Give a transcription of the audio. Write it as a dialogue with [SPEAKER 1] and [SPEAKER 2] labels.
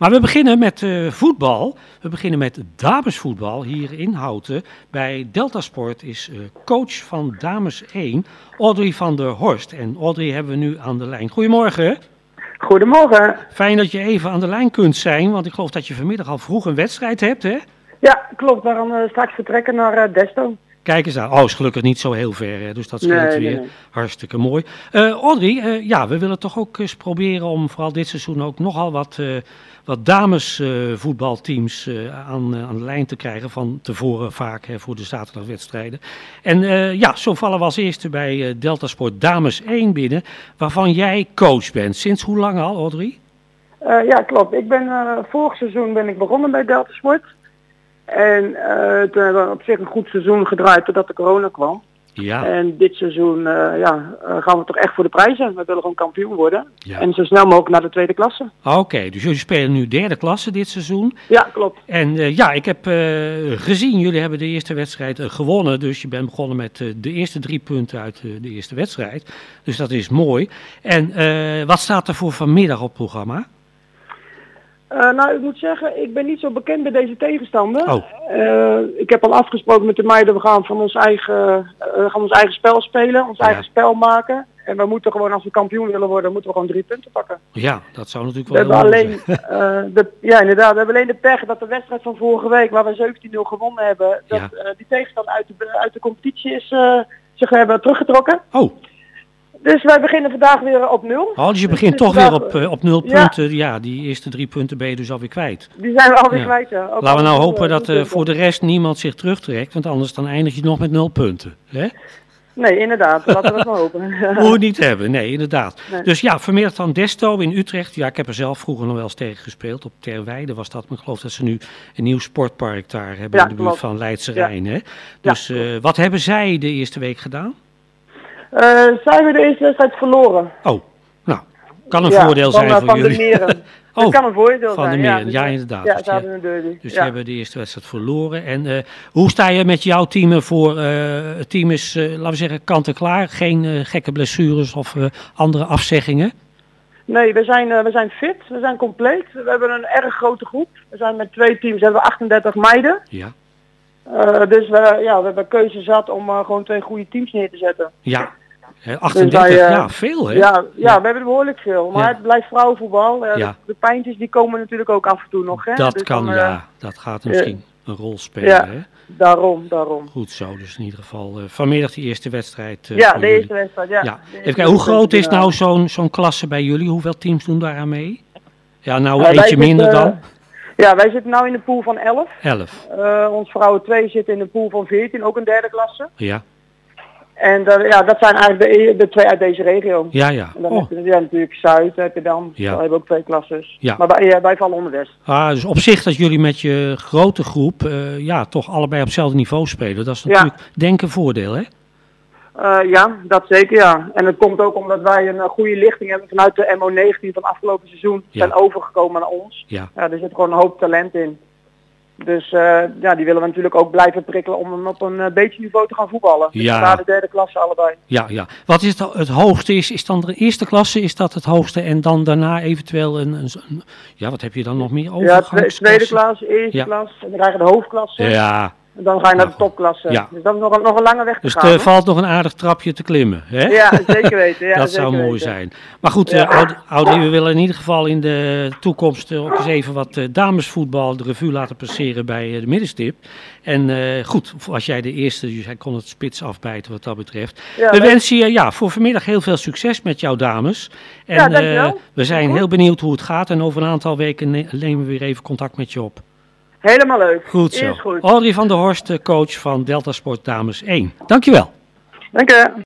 [SPEAKER 1] Maar we beginnen met eh, voetbal. We beginnen met damesvoetbal hier in Houten. Bij Deltasport is eh, coach van Dames 1 Audrey van der Horst. En Audrey hebben we nu aan de lijn. Goedemorgen.
[SPEAKER 2] Goedemorgen.
[SPEAKER 1] Fijn dat je even aan de lijn kunt zijn, want ik geloof dat je vanmiddag al vroeg een wedstrijd hebt, hè?
[SPEAKER 2] Ja, klopt. We gaan eh, straks vertrekken naar eh, Desto.
[SPEAKER 1] Kijk eens aan. Oh, is gelukkig niet zo heel ver, hè? dus dat scheelt
[SPEAKER 2] Nee, nee,
[SPEAKER 1] weer.
[SPEAKER 2] nee.
[SPEAKER 1] Hartstikke mooi. Eh, Audrey, eh, ja, we willen toch ook eens proberen om vooral dit seizoen ook nogal wat, eh, wat damesvoetbalteams aan, eh, aan de lijn te krijgen. Van tevoren vaak hè, voor de zaterdagwedstrijden. En eh, ja, zo vallen we als eerste bij eh, Delta Sport Dames 1 binnen, waarvan jij coach bent. Sinds hoe lang al, Audrey?
[SPEAKER 2] Eh, ja, klopt. Ik ben, eh, vorig seizoen ben ik begonnen bij Delta Sport. En eh, toen hebben we op zich een goed seizoen gedraaid totdat de corona kwam.
[SPEAKER 1] Ja,
[SPEAKER 2] En dit seizoen eh, ja, eh, gaan we toch echt voor de prijzen. We willen gewoon kampioen worden.
[SPEAKER 1] ja.
[SPEAKER 2] En zo snel mogelijk naar de tweede klasse.
[SPEAKER 1] oké. dus jullie spelen nu derde klasse dit seizoen.
[SPEAKER 2] Ja, klopt.
[SPEAKER 1] En eh, ja, ik heb eh, gezien, jullie hebben de eerste wedstrijd eh, gewonnen. Dus je bent begonnen met eh, de eerste drie punten uit eh, de eerste wedstrijd. Dus dat is mooi. En eh, wat staat er voor vanmiddag op het programma?
[SPEAKER 2] Eh, nou, ik moet zeggen, ik ben niet zo bekend bij deze tegenstander.
[SPEAKER 1] Oh.
[SPEAKER 2] Eh, ik heb al afgesproken met de meiden, we gaan van ons eigen, eh, we gaan ons eigen spel spelen, ons
[SPEAKER 1] Ja.
[SPEAKER 2] eigen spel maken. En we moeten gewoon, als we kampioen willen worden, moeten we gewoon drie punten pakken.
[SPEAKER 1] Ja, dat zou natuurlijk
[SPEAKER 2] We
[SPEAKER 1] wel
[SPEAKER 2] hebben
[SPEAKER 1] heel mooi
[SPEAKER 2] alleen, eh, de, ja inderdaad, we hebben alleen de pech dat de wedstrijd van vorige week, waar we 17-0 gewonnen hebben, dat
[SPEAKER 1] Ja.
[SPEAKER 2] eh, die tegenstander uit de, uit de competitie is, eh, zich hebben teruggetrokken.
[SPEAKER 1] zijn. Oh,
[SPEAKER 2] Dus wij beginnen vandaag weer op nul.
[SPEAKER 1] oh, dus je begint
[SPEAKER 2] is
[SPEAKER 1] toch weer
[SPEAKER 2] vandaag-
[SPEAKER 1] op, eh, op nul
[SPEAKER 2] Ja.
[SPEAKER 1] punten. Ja, die eerste drie punten ben je dus alweer kwijt.
[SPEAKER 2] Die zijn we alweer
[SPEAKER 1] Ja.
[SPEAKER 2] kwijt. ja. Ook
[SPEAKER 1] Laten we nou
[SPEAKER 2] al-
[SPEAKER 1] hopen dat eh,
[SPEAKER 2] punten.
[SPEAKER 1] voor de rest niemand zich terugtrekt. Want anders dan eindig je nog met nul punten. Hè?
[SPEAKER 2] Nee, inderdaad. Laten we dat maar hopen.
[SPEAKER 1] Moet het niet hebben, nee, inderdaad.
[SPEAKER 2] Nee.
[SPEAKER 1] Dus ja, vanmiddag dan Desto in Utrecht. Ja, ik heb er zelf vroeger nog wel eens tegen gespeeld. Op Terweide was dat, maar ik geloof dat ze nu een nieuw sportpark daar hebben
[SPEAKER 2] Ja,
[SPEAKER 1] in de buurt
[SPEAKER 2] klopt.
[SPEAKER 1] van Leidse Rijn. Hè? Dus eh, wat hebben zij de eerste week gedaan?
[SPEAKER 2] Eh, zijn we de eerste wedstrijd verloren.
[SPEAKER 1] Oh, nou, kan een
[SPEAKER 2] Ja,
[SPEAKER 1] voordeel
[SPEAKER 2] van,
[SPEAKER 1] zijn
[SPEAKER 2] eh,
[SPEAKER 1] voor
[SPEAKER 2] van
[SPEAKER 1] jullie.
[SPEAKER 2] De meren.
[SPEAKER 1] Oh,
[SPEAKER 2] dat kan een voordeel
[SPEAKER 1] van de
[SPEAKER 2] zijn.
[SPEAKER 1] meren.
[SPEAKER 2] dus,
[SPEAKER 1] Ja,
[SPEAKER 2] eh,
[SPEAKER 1] inderdaad.
[SPEAKER 2] Ja,
[SPEAKER 1] Dus je-
[SPEAKER 2] ze hadden een derby.
[SPEAKER 1] Dus
[SPEAKER 2] ja.
[SPEAKER 1] die hebben de eerste wedstrijd verloren. En eh, hoe sta je met jouw team ervoor? Eh, het team is, eh, laten we zeggen, kant-en-klaar. Geen eh, gekke blessures of eh, andere afzeggingen.
[SPEAKER 2] Nee, we zijn, eh, we zijn fit, we zijn compleet. We hebben een erg grote groep. We zijn met twee teams, hebben we 38 meiden.
[SPEAKER 1] Ja.
[SPEAKER 2] Eh, dus we, ja, we hebben keuze zat om eh, gewoon twee goede teams neer te zetten.
[SPEAKER 1] Ja, Eh, 38,
[SPEAKER 2] wij, eh,
[SPEAKER 1] Oh, ja, veel hè?
[SPEAKER 2] Ja, ja, we hebben er behoorlijk veel. Maar
[SPEAKER 1] Ja.
[SPEAKER 2] het blijft vrouwenvoetbal. Eh,
[SPEAKER 1] Ja.
[SPEAKER 2] De pijntjes die komen natuurlijk ook af en toe nog. Hè?
[SPEAKER 1] Dat
[SPEAKER 2] Dus
[SPEAKER 1] kan,
[SPEAKER 2] dan, eh,
[SPEAKER 1] ja. Dat gaat
[SPEAKER 2] eh,
[SPEAKER 1] misschien een rol spelen.
[SPEAKER 2] ja.
[SPEAKER 1] Hè?
[SPEAKER 2] Daarom, daarom.
[SPEAKER 1] Goed zo, dus in ieder geval eh, vanmiddag die eerste wedstrijd. eh,
[SPEAKER 2] ja,
[SPEAKER 1] voor
[SPEAKER 2] de
[SPEAKER 1] jullie.
[SPEAKER 2] eerste wedstrijd. Ja.
[SPEAKER 1] Ja.
[SPEAKER 2] De eerste
[SPEAKER 1] Even kijken, hoe
[SPEAKER 2] wedstrijd,
[SPEAKER 1] groot is
[SPEAKER 2] eh,
[SPEAKER 1] nou zo'n zo'n klasse bij jullie? Hoeveel teams doen daaraan mee? Ja, nou
[SPEAKER 2] Eh, wij
[SPEAKER 1] eentje
[SPEAKER 2] zitten,
[SPEAKER 1] minder
[SPEAKER 2] eh,
[SPEAKER 1] dan?
[SPEAKER 2] Ja, wij zitten nu in de pool van 11.
[SPEAKER 1] 11.
[SPEAKER 2] Eh, ons vrouwen 2 zitten in de pool van 14, ook een derde klasse.
[SPEAKER 1] Ja,
[SPEAKER 2] En dat, ja, dat zijn eigenlijk de, e- de twee uit deze regio.
[SPEAKER 1] ja, ja.
[SPEAKER 2] En dan
[SPEAKER 1] Oh.
[SPEAKER 2] heb je ja, natuurlijk Zuid, heb je dan.
[SPEAKER 1] Ja.
[SPEAKER 2] Daar hebben we ook twee klasses.
[SPEAKER 1] Ja.
[SPEAKER 2] Maar wij, ja, wij vallen onder West.
[SPEAKER 1] Ah, dus op zich dat jullie met je grote groep eh, ja, toch allebei op hetzelfde niveau spelen. Dat is
[SPEAKER 2] Ja.
[SPEAKER 1] natuurlijk denk een voordeel, hè?
[SPEAKER 2] Eh, ja, dat zeker ja. En dat komt ook omdat wij een eh, goede lichting hebben vanuit de MO19 van afgelopen seizoen.
[SPEAKER 1] Ja.
[SPEAKER 2] Zijn overgekomen naar ons.
[SPEAKER 1] Ja.
[SPEAKER 2] Ja, er zit gewoon een hoop talent in. Dus eh, ja, die willen we natuurlijk ook blijven prikkelen om hem op een eh, beetje niveau te gaan voetballen. Dus
[SPEAKER 1] Ja.
[SPEAKER 2] na de derde klasse allebei.
[SPEAKER 1] Ja, ja. Wat is het, het hoogste? Is, is dan de eerste klasse is dat het hoogste? En dan daarna eventueel een... een, een- ja, wat heb je dan nog meer?
[SPEAKER 2] Ja, twe-
[SPEAKER 1] Overgangsklasse?
[SPEAKER 2] tweede klas, eerste
[SPEAKER 1] Ja.
[SPEAKER 2] klas. En dan krijg je de hoofdklasse.
[SPEAKER 1] Ja,
[SPEAKER 2] En dan ga je naar de
[SPEAKER 1] Ja.
[SPEAKER 2] topklasse.
[SPEAKER 1] Ja.
[SPEAKER 2] Dus dat is nog een, nog een lange weg te
[SPEAKER 1] dus
[SPEAKER 2] gaan.
[SPEAKER 1] er
[SPEAKER 2] hoor.
[SPEAKER 1] valt nog een aardig trapje te klimmen. Hè?
[SPEAKER 2] Ja, zeker weten. Ja,
[SPEAKER 1] dat
[SPEAKER 2] zeker
[SPEAKER 1] zou mooi
[SPEAKER 2] weten.
[SPEAKER 1] zijn. Maar goed,
[SPEAKER 2] Ja.
[SPEAKER 1] eh, Aud- Audrey, we willen in ieder geval in de toekomst eh, ook eens even wat eh, damesvoetbal de revue laten passeren bij eh, de middenstip. En eh, goed, als jij de eerste, dus hij kon het spits afbijten wat dat betreft.
[SPEAKER 2] Ja,
[SPEAKER 1] we
[SPEAKER 2] leuk.
[SPEAKER 1] wensen je ja, voor vanmiddag heel veel succes met jouw dames. En
[SPEAKER 2] Ja, dankjewel.
[SPEAKER 1] eh, we zijn
[SPEAKER 2] Goed.
[SPEAKER 1] heel benieuwd hoe het gaat. En over een aantal weken ne- nemen we weer even contact met je op.
[SPEAKER 2] Helemaal leuk.
[SPEAKER 1] Goed zo. Oh.
[SPEAKER 2] Is goed.
[SPEAKER 1] Audrey van der Horst, eh, coach van Delta Sport Dames 1. Dankjewel.
[SPEAKER 2] Dank je.